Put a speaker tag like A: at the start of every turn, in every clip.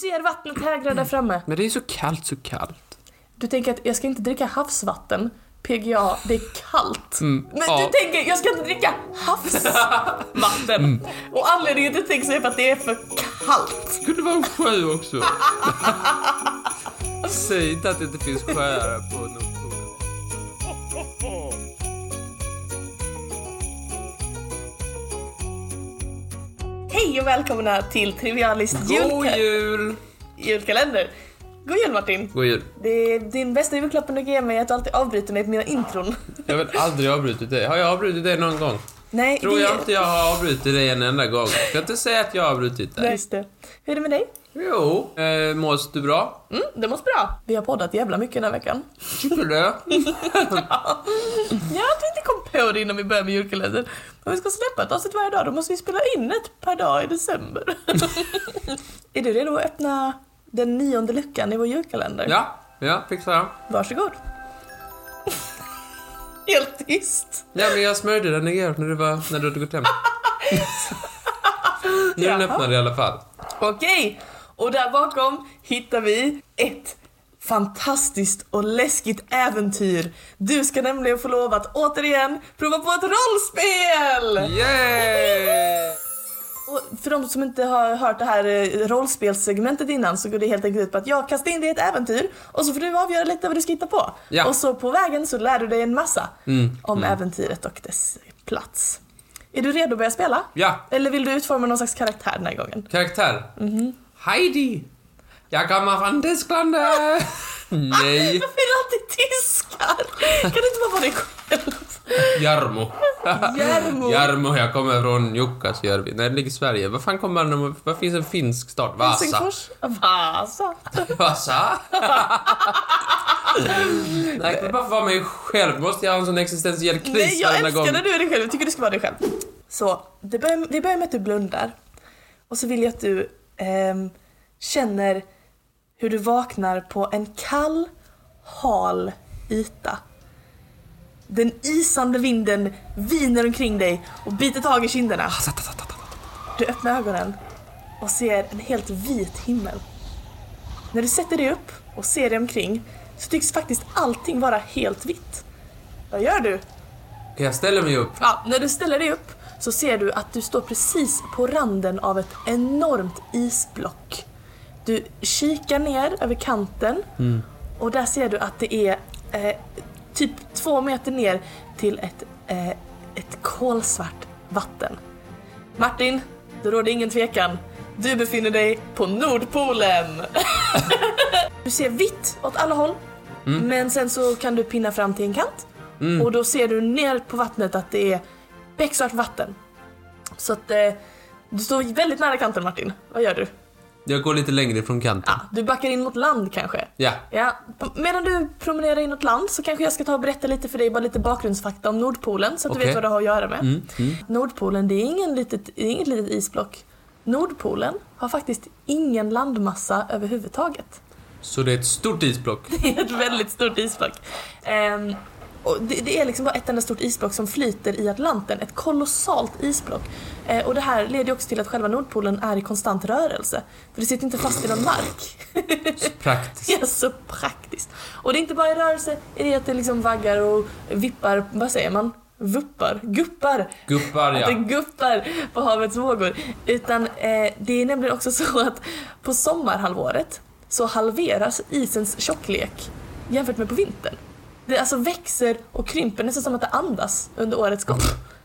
A: ser vattnet hägra där framme.
B: Men det är så kallt, så kallt.
A: Du tänker att jag ska inte dricka havsvatten. PGA, det är kallt.
B: Mm,
A: Men
B: ja.
A: du tänker, jag ska inte dricka havsvatten.
B: Mm.
A: Och anledningen till att du tänker så är för att det är för kallt.
B: Skulle det vara en sjö också? Säg inte att det inte finns sjöar på Nordpolen.
A: Hej och välkomna till Trivialist
B: God
A: julka-
B: jul!
A: julkalender. God jul Martin.
B: God jul.
A: Det är din bästa julklappen du kan ge mig är att du alltid avbryter mig på mina intron.
B: Jag har väl aldrig avbrutit dig. Har jag avbrutit dig någon gång?
A: Nej,
B: Tror
A: det
B: jag inte jag har avbrutit dig en enda gång. Jag kan inte säga att jag har avbrutit dig.
A: Just det. Hur är det med dig?
B: Jo. Eh, mås du bra?
A: Mm, det måste bra. Vi har poddat jävla mycket den här veckan.
B: Tycker du?
A: Ja, att vi inte kom på det innan vi började med julkalendern. Om vi ska släppa ett avsnitt varje dag, då måste vi spela in ett per dag i december. är du redo att öppna den nionde luckan i vår julkalender?
B: Ja, ja, fixar jag.
A: Varsågod. Helt tyst.
B: Ja, men jag smörjde den igår när du, var, när du hade gått hem. Nu är den
A: Jaha.
B: öppnad i alla fall.
A: Okej, och där bakom hittar vi ett fantastiskt och läskigt äventyr. Du ska nämligen få lov att återigen prova på ett rollspel!
B: Yay!
A: Och för de som inte har hört det här eh, rollspelssegmentet innan så går det helt enkelt ut på att jag kastar in dig i ett äventyr och så får du avgöra lite vad du ska hitta på.
B: Ja. Mm.
A: Och så på vägen så lär du dig en massa om äventyret och dess plats. Är du redo att börja spela?
B: Ja,
A: Eller vill du utforma någon slags karaktär den här gången?
B: karaktär. Heidi! Jag kommer från Tyskland! Nej,
A: Varför är det alltid tyskar? Kan du inte bara vara dig själv?
B: Jarmo.
A: Jarmo.
B: Jarmo, jag kommer från Jukkasjärvi. Nej, det ligger i Sverige. Var fan kommer den... Var finns en finsk stad? Vasa.
A: Helsingfors? Vasa?
B: Vasa? Nej, jag kan bara vara mig själv. Måste jag ha en sån existentiell kris
A: Nej, jag
B: varenda
A: älskar
B: gång?
A: när du är dig själv. Jag tycker du ska vara dig själv. Så, det börjar, vi börjar med att du blundar. Och så vill jag att du ehm, känner hur du vaknar på en kall, hal yta. Den isande vinden viner omkring dig och biter tag i kinderna. Du öppnar ögonen och ser en helt vit himmel. När du sätter dig upp och ser dig omkring så tycks faktiskt allting vara helt vitt. Vad gör du?
B: Jag ställer mig upp.
A: Ja, när du ställer dig upp så ser du att du står precis på randen av ett enormt isblock. Du kikar ner över kanten och där ser du att det är eh, typ två meter ner till ett, eh, ett kolsvart vatten. Martin, det råder ingen tvekan. Du befinner dig på Nordpolen. du ser vitt åt alla håll, men sen så kan du pinna fram till en kant
B: Mm.
A: och då ser du ner på vattnet att det är becksvart vatten. Så att eh, du står väldigt nära kanten Martin. Vad gör du?
B: Jag går lite längre från kanten.
A: Ah, du backar in mot land kanske?
B: Ja.
A: Ja, medan du promenerar inåt land så kanske jag ska ta och berätta lite för dig, bara lite bakgrundsfakta om Nordpolen så att du
B: Okej.
A: vet vad du har att göra med.
B: Mm, mm.
A: Nordpolen, det är ingen litet, det är inget litet isblock. Nordpolen har faktiskt ingen landmassa överhuvudtaget.
B: Så det är ett stort isblock.
A: Det är ett väldigt stort isblock. Ehm, och det, det är liksom bara ett enda stort isblock som flyter i Atlanten. Ett kolossalt isblock. Eh, och det här leder ju också till att själva Nordpolen är i konstant rörelse. För det sitter inte fast i någon mark.
B: Praktiskt.
A: Det är så praktiskt. Och det är inte bara i rörelse, det är att det liksom vaggar och vippar, vad säger man? Vuppar? Guppar?
B: Guppar,
A: Att det
B: ja.
A: guppar på havets vågor. Utan eh, det är nämligen också så att på sommarhalvåret så halveras isens tjocklek jämfört med på vintern. Det alltså växer och krymper nästan som att det andas under årets gång.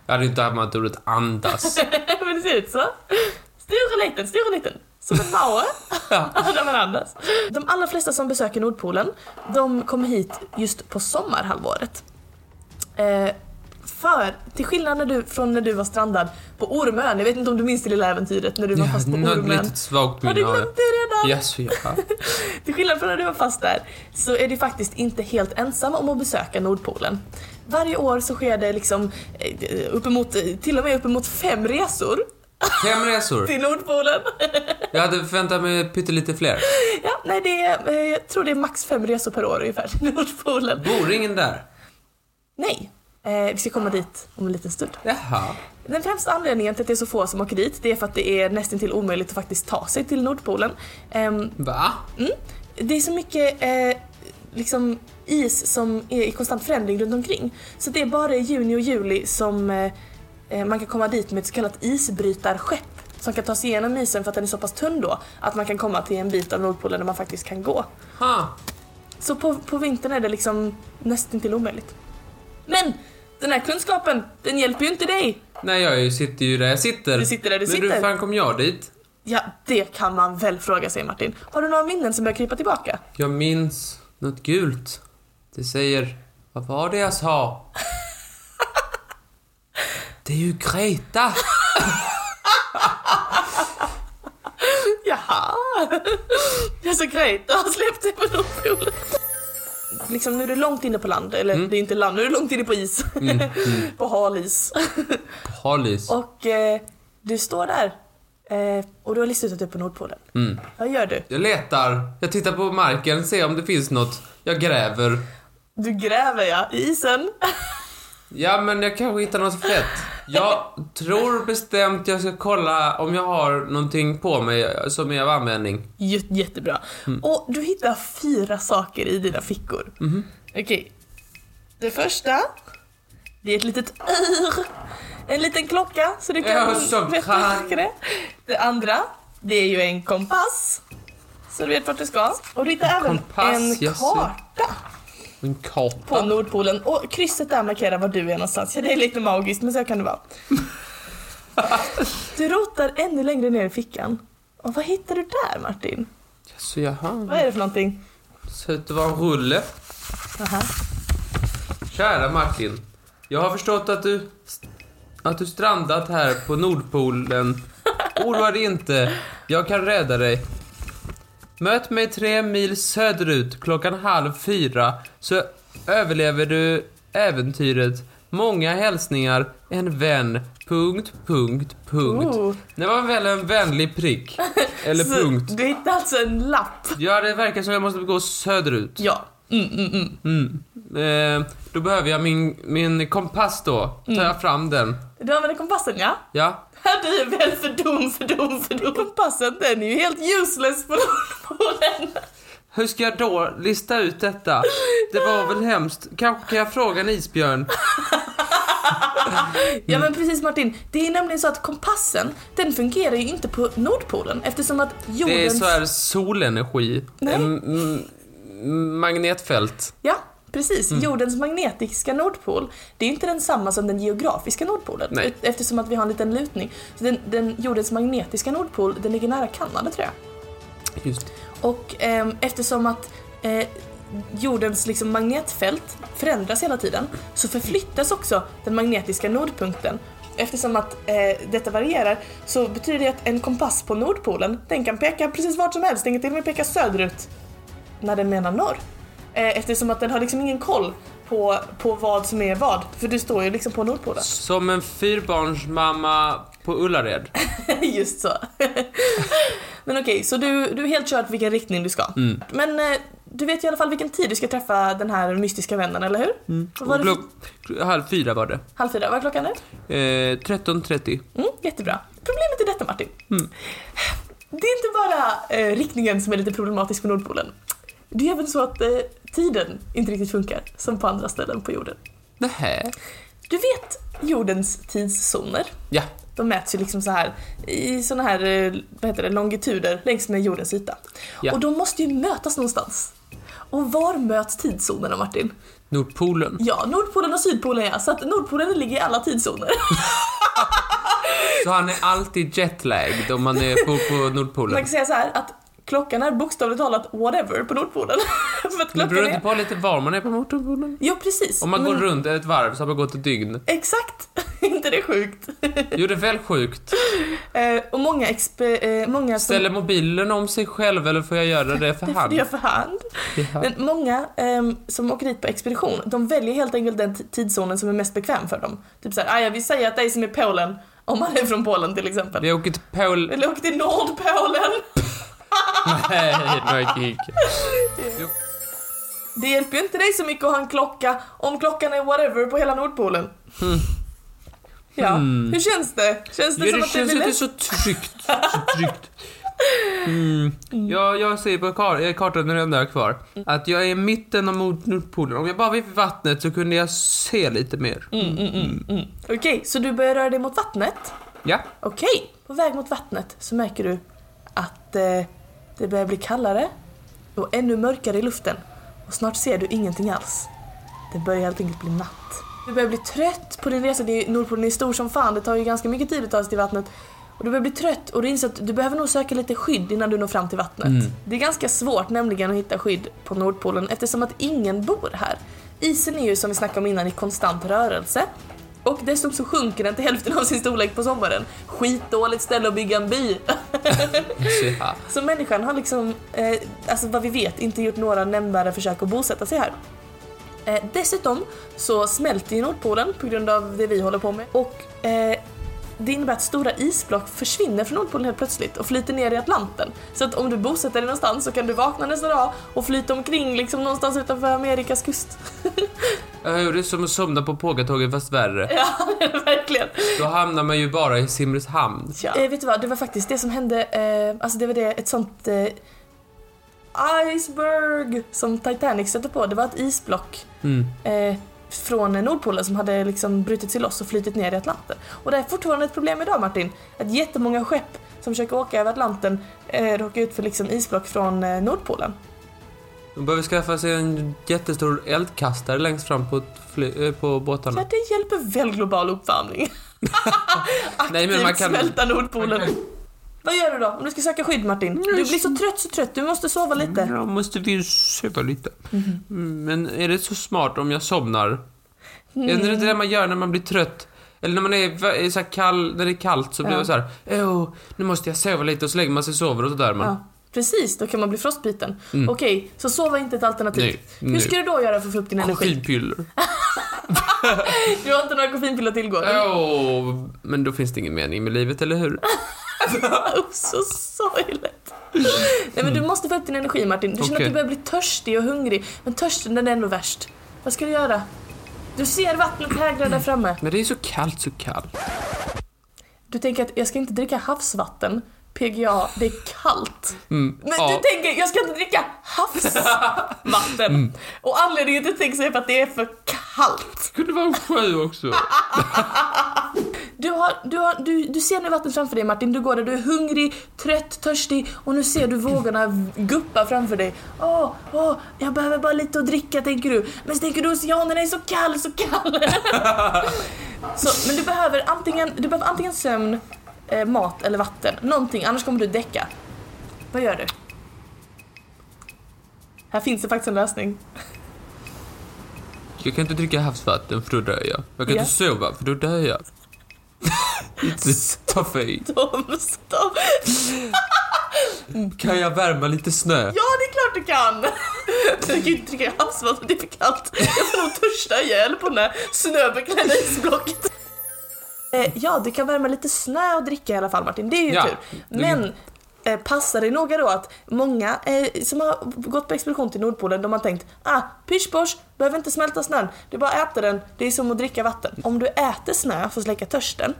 B: Jag hade inte använt ordet andas.
A: Men det ser ut så. Stor och liten, stor och liten. Som en mauer. Där man andas. De allra flesta som besöker Nordpolen, de kommer hit just på sommarhalvåret. Eh, för, till skillnad när du, från när du var strandad på Ormön, jag vet inte om du minns det lilla äventyret när du var
B: Ja,
A: fast på
B: något
A: Ormön.
B: litet svagt
A: Har du
B: minne har
A: glömt
B: jag.
A: det redan?
B: Yes, ja.
A: Till skillnad från när du var fast där så är du faktiskt inte helt ensam om att besöka Nordpolen. Varje år så sker det liksom eh, uppemot, till och med uppemot fem resor
B: Fem resor.
A: till Nordpolen.
B: Jag hade förväntat mig pyttelite fler.
A: Ja, nej, det är, eh, jag tror det är max fem resor per år ungefär till Nordpolen.
B: Bor ingen där?
A: Nej. Eh, Eh, vi ska komma dit om en liten stund.
B: Jaha.
A: Den främsta anledningen till att det är så få som åker dit, det är för att det är nästintill omöjligt att faktiskt ta sig till Nordpolen. Ehm,
B: Va?
A: det är så mycket eh, liksom is som är i konstant förändring runt omkring. Så det är bara i juni och juli som eh, eh, man kan komma dit med ett så kallat isbrytarskepp som kan ta sig igenom isen för att den är så pass tunn då att man kan komma till en bit av Nordpolen där man faktiskt kan gå.
B: Ha.
A: Så på, på vintern är det liksom nästintill omöjligt. Men den här kunskapen, den hjälper ju inte dig!
B: Nej, jag är ju- sitter ju där jag sitter.
A: Du sitter där du
B: Men
A: sitter.
B: hur fan kom jag dit?
A: Ja, det kan man väl fråga sig Martin. Har du några minnen som börjar krypa tillbaka?
B: Jag minns något gult. Det säger... Vad var det jag sa? Det är ju Greta!
A: Jaha! Det är så grejt, han släppte på Nordpolen. Liksom nu är du långt inne på land, eller det är inte land, nu är du långt inne på is. på hal is.
B: Hallis.
A: och eh, du står där eh, och du har listat ut att du är på Nordpolen.
B: Mm.
A: Vad gör du?
B: Jag letar. Jag tittar på marken, ser om det finns något. Jag gräver.
A: Du gräver ja, i isen.
B: Ja, men jag kanske hittar något fett. Jag tror bestämt jag ska kolla om jag har någonting på mig som är av användning.
A: J- jättebra.
B: Mm.
A: Och du hittar fyra saker i dina fickor.
B: Mhm.
A: Okej. Det första, det är ett litet ur. En liten klocka så du
B: Ja,
A: kan
B: så
A: veta
B: bra.
A: hur mycket det. är. Det andra, det är ju en kompass. Så du vet vart du ska. Och du hittar även
B: kompass,
A: en
B: jösses.
A: karta
B: En
A: på
B: karta.
A: Nordpolen. Och krysset där markerar var du är någonstans. Ja, det är lite magiskt men så kan det vara. du rotar ännu längre ner i fickan. Och vad hittar du där Martin?
B: Så jaha.
A: Vad är det för någonting?
B: Ser ut att vara en rulle.
A: Aha.
B: Kära Martin. Jag har förstått att du... Att du strandat här på Nordpolen. Oroa dig inte. Jag kan rädda dig. Möt mig tre mil söderut klockan halv fyra så överlever du äventyret. Många hälsningar, en vän. Punkt, punkt, punkt.
A: Oh.
B: Det var väl en vänlig prick? Eller
A: Så
B: punkt.
A: Du hittade alltså en lapp.
B: Ja, det verkar som jag måste gå söderut.
A: Ja. Mm, mm, mm.
B: Mm. Eh, då behöver jag min, min kompass då. Tar
A: Mm.
B: jag fram den?
A: Du använder kompassen ja?
B: Ja.
A: Du är väl för dum, för dum, för dum. Kompassen den är ju helt useless på Nordpolen.
B: Hur ska jag då lista ut detta? Det var väl hemskt. Kanske kan jag fråga en isbjörn? Mm.
A: Ja men precis Martin, det är nämligen så att kompassen den fungerar ju inte på Nordpolen eftersom att
B: Det är
A: jordens...
B: så här solenergi.
A: Nej.
B: Mm, mm, mm, magnetfält.
A: Ja, precis.
B: Mm.
A: Jordens magnetiska nordpol, det är inte densamma som den geografiska nordpolen
B: Nej.
A: e- eftersom att vi har en liten lutning. Så den, den, jordens magnetiska nordpol, den ligger nära Kanada tror jag.
B: Just.
A: Och ehm, eftersom att eh, jordens liksom, magnetfält förändras hela tiden så förflyttas också den magnetiska nordpunkten. Eftersom att eh, detta varierar så betyder det att en kompass på Nordpolen den kan peka precis vart som helst, den kan till och med peka söderut när den menar norr. Eh, eftersom att den har liksom ingen koll på, på vad som är vad, för du står ju liksom på Nordpolen.
B: Som en fyrbarnsmamma på Ullared.
A: Just så. Men okej, så du, du är helt körd vilken riktning du ska. Men eh, du vet i alla fall vilken tid du ska träffa den här mystiska vännen, eller hur? Vad var det för,
B: Klock- halv fyra var det.
A: halv fyra, vad är klockan nu?
B: Eh, 13.30.
A: Mm, jättebra. Problemet är detta Martin. Det är inte bara eh, riktningen som är lite problematisk på Nordpolen. Det är även så att eh, tiden inte riktigt funkar, som på andra ställen på jorden.
B: Nähä.
A: Du vet jordens tidszoner?
B: Ja.
A: De mäts ju liksom så här i såna här, eh, vad heter det, longituder längs med jordens yta.
B: Ja.
A: Och de måste ju mötas någonstans. Och var möts tidszonerna Martin?
B: Nordpolen.
A: Ja, Nordpolen och Sydpolen ja, så att Nordpolen ligger i alla tidszoner.
B: Så han är alltid jetlagged om man är på, på Nordpolen.
A: Man kan säga så här att klockan är bokstavligt talat whatever på Nordpolen. För att
B: Det
A: klockan
B: beror inte
A: är...
B: på lite var man är på Nordpolen?
A: Jo precis.
B: Om man
A: Men-
B: går runt ett varv så har man gått ett dygn.
A: Exakt, inte det är sjukt.
B: Jo, det är väl sjukt.
A: Eh, och många, exper- eh, många som...
B: Ställer mobilen om sig själv eller får jag göra det för
A: Det får
B: hand?
A: du göra för hand.
B: Ja.
A: Men många ehm, som åker dit på expedition, de väljer helt enkelt den t- tidszonen som är mest bekväm för dem. Typ såhär, "Ah, jag vill säga att dig som är Polen, om man är från Polen till exempel.
B: Vi åker till Polen.
A: Eller åk till Nordpolen!
B: Nej, det var kik. Jo.
A: Det hjälper ju inte dig så mycket att ha en klocka om klockan är whatever på hela Nordpolen. Ja,
B: Hmm.
A: hur känns det? Känns det
B: Ja,
A: som
B: det
A: att det
B: känns
A: blir
B: inte
A: lätt?
B: så tryggt. Så tryggt. Mm. Ja, jag ser på kar- eh, kartan, den där kvar,
A: Mm.
B: att jag är i mitten av mot Nordpolen. Om jag bara var vid vattnet så kunde jag se lite mer.
A: Mm, mm, mm, mm. Okej, så du börjar röra dig mot vattnet?
B: Ja.
A: Okej, på väg mot vattnet så märker du att eh, det börjar bli kallare och ännu mörkare i luften. Och snart ser du ingenting alls. Det börjar helt enkelt bli natt. Du börjar bli trött på din resa. Det är, Nordpolen är stor som fan, det tar ju ganska mycket tid att ta sig till vattnet. Och du börjar bli trött och du inser att du behöver nog söka lite skydd innan du når fram till vattnet.
B: Mm.
A: Det är ganska svårt nämligen att hitta skydd på Nordpolen eftersom att ingen bor här. Isen är ju som vi snackade om innan i konstant rörelse. Och dessutom så sjunker den till hälften av sin storlek på sommaren. Skitdåligt ställe att bygga en by.
B: Ja.
A: Så människan har liksom, eh, alltså vad vi vet, inte gjort några nämnvärda försök att bosätta sig här. Eh, dessutom så smälter ju Nordpolen på grund av det vi håller på med och eh, det innebär att stora isblock försvinner från Nordpolen helt plötsligt och flyter ner i Atlanten. Så att om du bosätter dig någonstans så kan du vakna nästa dag och flyta omkring liksom någonstans utanför Amerikas kust.
B: Eh, Det är som att somna på pågatåget fast värre.
A: ja, verkligen.
B: Då hamnar man ju bara i Simrishamn.
A: Eh, vet du vad, det var faktiskt det som hände, eh, alltså det var det, ett sånt eh, iceberg som Titanic stötte på. Det var ett isblock
B: Mm.
A: eh, från Nordpolen som hade liksom brutit sig loss och flytit ner i Atlanten. Och det är fortfarande ett problem idag Martin, att jättemånga skepp som försöker åka över Atlanten eh, råkar ut för liksom isblock från eh, Nordpolen.
B: De behöver skaffa sig en jättestor eldkastare längst fram på, fly- eh, på
A: Så
B: båtarna.
A: att det hjälper väl global uppvärmning? Aktivt
B: Nej, men man kan-
A: smälta Nordpolen. Vad gör du då om du ska söka skydd Martin? Du blir så trött så trött, du måste sova lite. Mhm.
B: Ja, måste vi sova lite. Mm, Men är det så smart om jag somnar? Är
A: Mm.
B: det inte det man gör när man blir trött? Eller när man är, va- är så här kall, när det är kallt så blir
A: Ja.
B: man så här, åh, nu måste jag sova lite och så lägger man sig och sover och så där man.
A: Ja, precis, då kan man bli frostbiten.
B: Mm.
A: Okej, så sova inte ett alternativ.
B: Nej,
A: typ. Hur
B: nej.
A: ska du då göra för att få upp din energi?
B: Koffeinpiller.
A: Du har inte några koffeinpiller att tillgå?
B: Åh, men då finns det ingen mening med livet, eller hur?
A: Usch, så sorgligt. Nej men du måste få upp din energi Martin. Du känner
B: Okej.
A: att du börjar bli törstig och hungrig. Men törsten den är ändå värst. Vad ska du göra? Du ser vattnet hägra där framme.
B: Men det är så kallt, så kallt.
A: Du tänker att jag ska inte dricka havsvatten. PGA, det är kallt.
B: Mm,
A: Men
B: ja.
A: du tänker, jag ska inte dricka havsvatten.
B: Mm.
A: Och anledningen till att du tänker så är för att det är för kallt.
B: Det kunde vara en sjö också.
A: Du, har, du, har, du, du ser nu vattnet framför dig Martin, du går där, du är hungrig, trött, törstig och nu ser du vågorna guppa framför dig. Åh, åh, jag behöver bara lite att dricka tänker du. Men så tänker du oceanen är så kall, så kall. så, men du behöver antingen, du behöver antingen sömn, eh, mat eller vatten. Någonting, annars kommer du däcka. Vad gör du? Här finns det faktiskt en lösning.
B: Jag kan inte dricka havsvatten för då dör jag. Jag kan
A: Ja.
B: inte sova för då dör jag. It's a toughy.
A: Tom, stopp.
B: Kan jag värma lite snö?
A: Ja, det är klart du kan! Du kan ju inte dricka havsvatten, det är för kallt. Jag får nog törsta ihjäl på den här snöbeklädda isblocket. Eh, ja, du kan värma lite snö och dricka i alla fall Martin, det är ju
B: Ja,
A: tur.
B: det-
A: Men eh, passa dig noga då att många eh, som har gått på expedition till Nordpolen, de har tänkt ah, pysch behöver inte smälta snön, du bara äter den, det är som att dricka vatten. Om du äter snö för att släcka törsten,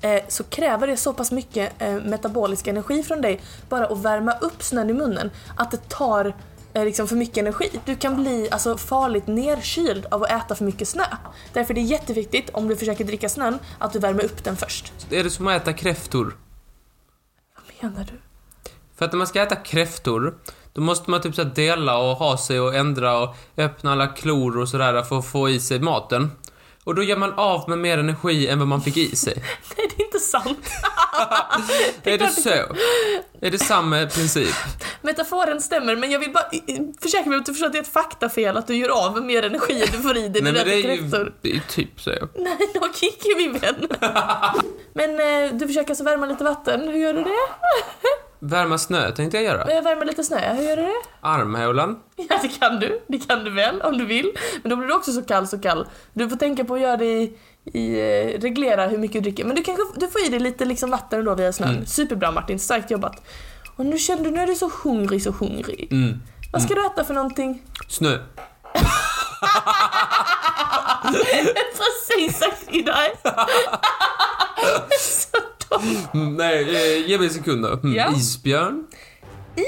A: eh, så kräver det så pass mycket eh, metabolisk energi från dig bara att värma upp snön i munnen att det tar eh, liksom för mycket energi. Du kan bli alltså, farligt nerkyld av att äta för mycket snö. Därför är det jätteviktigt om du försöker dricka snön att du värmer upp den först.
B: Är det som att äta kräftor?
A: Vad menar du?
B: För att när man ska äta kräftor, då måste man typ så här dela och ha sig och ändra och öppna alla klor och sådär för att få i sig maten. Och då gör man av med mer energi än vad man fick i sig.
A: Nej, det är inte sant.
B: är det så? Är det samma princip?
A: Metaforen stämmer men jag vill bara eh, eh, försäkra mig om att du förstår att det är ett faktafel att du gör av med mer energi än du får i dig när
B: Nej
A: du
B: men det
A: äter
B: är
A: kräftor.
B: ju det är ju typ så.
A: Nej, då kickar min vän. Men eh, du försöker alltså värma lite vatten, hur gör du det?
B: Värma snö tänkte jag göra.
A: Eh, Värma lite snö, hur gör du det?
B: Armhålan.
A: Ja, det kan du. Det kan du väl om du vill. Men då blir du också så kall, så kall. Du får tänka på att göra det i, i eh, reglera hur mycket du dricker. Men du kanske du får i dig lite liksom vatten då via snön. Superbra Martin, starkt jobbat. Och nu känner du, nu är du så hungrig, så hungrig.
B: Mm.
A: Vad ska du äta för någonting?
B: Snö.
A: Precis sagt idag. Så dumt.
B: Mm, nej, eh, ge mig en sekund då. Mm,
A: Ja.
B: Isbjörn.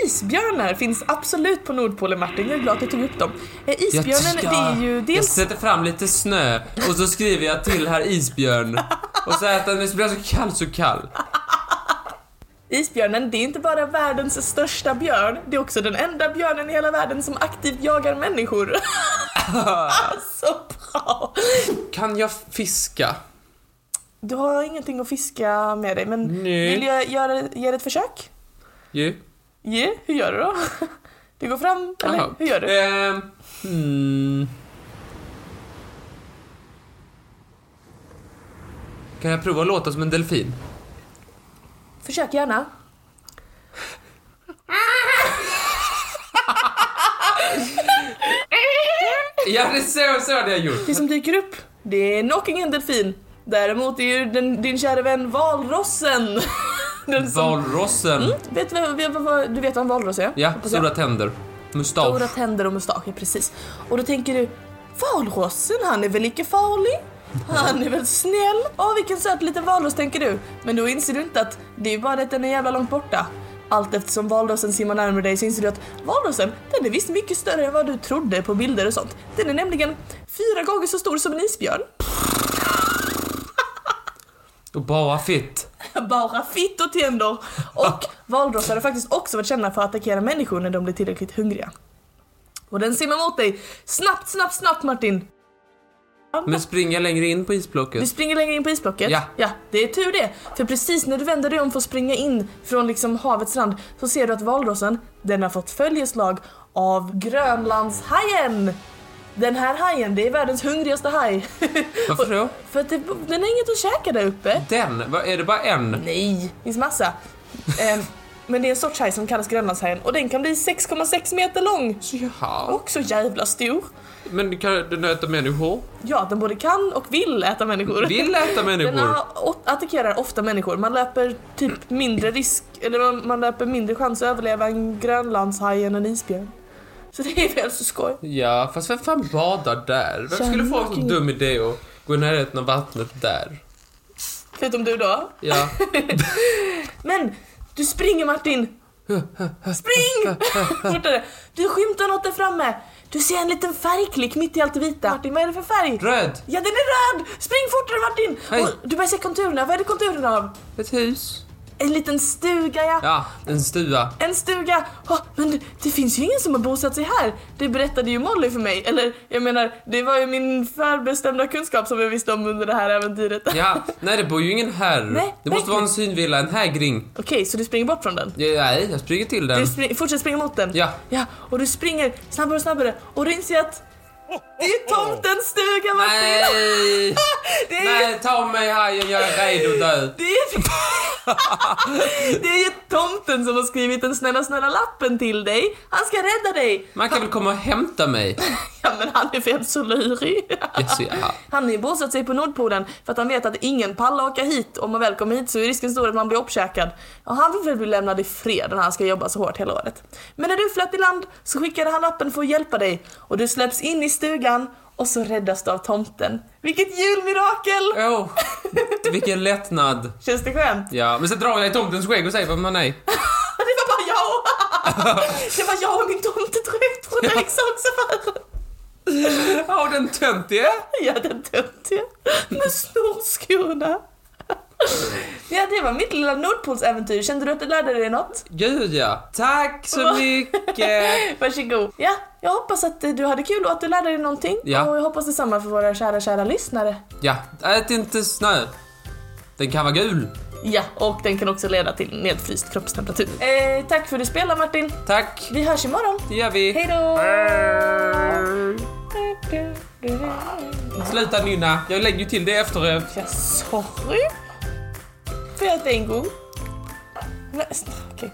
A: Isbjörnar finns absolut på Nordpolen Martin, jag är glad att du tog upp dem. Eh, Isbjörnen
B: Jag-
A: det är ju
B: Jag
A: dels...
B: sätter fram lite snö och så skriver jag till här isbjörn. Och så äter den, så blir jag så kall, så kall.
A: Isbjörnen det är inte bara världens största björn, det är också den enda björnen i hela världen som aktivt jagar människor. alltså bra!
B: Kan jag fiska?
A: Du har ingenting att fiska med dig men
B: Nej.
A: vill jag göra, ge det ett försök?
B: Ju?
A: Ge? Hur gör du då? Du går fram, eller
B: Jaha.
A: hur gör du?
B: Ehm, hmm. Kan jag prova att låta som en delfin?
A: Försök gärna.
B: Ja, det så, så hade jag gjort.
A: Det som dyker upp, det är nog ingen delfin. Däremot är ju den, din kära vän valrossen. Den som,
B: Valrossen.
A: vet, vad- vet, vad- vad- du vet vad en valross är?
B: Ja,
A: Mm. Hoppas jag.
B: stora tänder.
A: Stora
B: Mustasch.
A: tänder och mustascher, precis. Och då tänker du, valrossen han är väl icke farlig? Han är väl snäll? Åh vilken söt liten valross tänker du. Men då inser du inte att det är ju bara det att den är jävla långt borta. Allt eftersom valrossen simmar närmare dig så inser du att valrossen, den är visst mycket större än vad du trodde på bilder och sånt. Den är nämligen fyra gånger så stor som en isbjörn.
B: Och bara fitt.
A: Bara fitt och tänder. Och valrossar har faktiskt också varit kända för att attackera människor när de blir tillräckligt hungriga. Och den simmar mot dig. Snabbt, snabbt, snabbt Martin.
B: Men springa längre in på
A: Du
B: isblocket.
A: springer längre in på isblocket?
B: Ja.
A: ja. Det är tur det. För precis när du vänder dig om för att springa in från liksom havets rand så ser du att valrossen, den har fått följeslag av Grönlandshajen. Den här hajen, det är världens hungrigaste haj.
B: Varför då?
A: för att det, den har inget att käka där uppe.
B: Den? Vad, är det bara en?
A: Nej, det finns massa. Ehm, men det är en sorts haj som kallas Grönlandshajen och den kan bli 6,6 meter lång.
B: Så jaha.
A: Också jävla stor.
B: Men kan den äta människor?
A: Ja, den både kan och vill äta människor.
B: Vill äta
A: Den
B: människor?
A: har- å- attackerar ofta människor. Man löper typ mindre risk, eller man, man löper mindre chans att överleva en grönlandshaj än en isbjörn. Så det är väl så skoj.
B: Ja, fast vem fan badar där? Vem skulle få en så dum idé att gå i närheten av vattnet där?
A: Förutom du då.
B: Ja.
A: Men! Du springer Martin! Spring! Fortare! Du skymtar något där framme. Du ser en liten färgklick mitt i allt det vita. Martin, vad är det för färg?
B: Röd!
A: Ja, den är röd! Spring fortare Martin!
B: Hej.
A: Och du börjar se konturerna. Vad är det konturerna av?
B: Ett hus.
A: En liten stuga ja.
B: Ja, en stua.
A: En stuga! Ha, men det, det finns ju ingen som har bosatt sig här! Det berättade ju Molly för mig. Eller jag menar, det var ju min förbestämda kunskap som jag visste om under det här äventyret.
B: Ja, nej det bor ju ingen här.
A: Nej,
B: det måste
A: nej.
B: vara en synvilla, en hägring.
A: Okej, så du springer bort från den?
B: Ja, nej, jag springer till den.
A: Du spring, fortsätter springa mot den?
B: Ja.
A: Ja, och du springer snabbare och snabbare och du inser att det är tomtens stuga Martin!
B: Nej!
A: Det är ju-
B: Nej, ta mig hajen, jag är redo att dö.
A: Det är, ju- det är ju tomten som har skrivit den snälla snälla lappen till dig. Han ska rädda dig.
B: Man kan väl komma och hämta mig?
A: Ja men han är väl så lurig.
B: Jaså, jaha.
A: Han har ju bosatt sig på Nordpolen för att han vet att ingen pallar åka hit. Om man väl kommer hit så är risken stor att man blir uppkäkad. Och han vill väl bli lämnad i fred när han ska jobba så hårt hela året. Men när du flöt i land så skickade han lappen för att hjälpa dig och du släpps in i stugan och så räddas du av tomten. Vilket julmirakel!
B: Åh, vilken lättnad.
A: Känns det skönt?
B: Ja, men sen drar jag i tomtens skägg och säger vad man nej.
A: Det var bara jag! Det var jag och min tomtedräkt från leksaksaffären.
B: Ja, den töntige.
A: Ja, den töntiga. Med snorskorna. Ja, det var mitt lilla Nordpolsäventyr. Kände du att du lärde dig något?
B: Gud ja. Tack så mycket.
A: Varsågod. Ja, jag hoppas att eh, du hade kul och att du lärde dig någonting.
B: Ja.
A: Och jag hoppas detsamma för våra kära, kära lyssnare.
B: Ja, ät inte snö. Den kan vara gul.
A: Ja, och den kan också leda till nedfryst kroppstemperatur. Eh, tack för att du spelade Martin.
B: Tack.
A: Vi hörs imorgon.
B: Det gör vi.
A: Hej då!
B: Sluta nynna. Jag lägger ju till det efter.
A: Ja, sorry. Får jag äta en gång? Nej, snälla, Okej.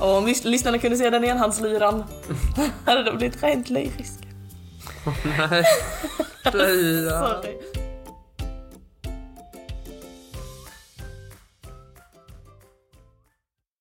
A: Åh, Om lys- lyssnarna kunde se den enhandslyran hade de blivit rent lyriska.
B: Nej. Fy, ja.
A: Sorry.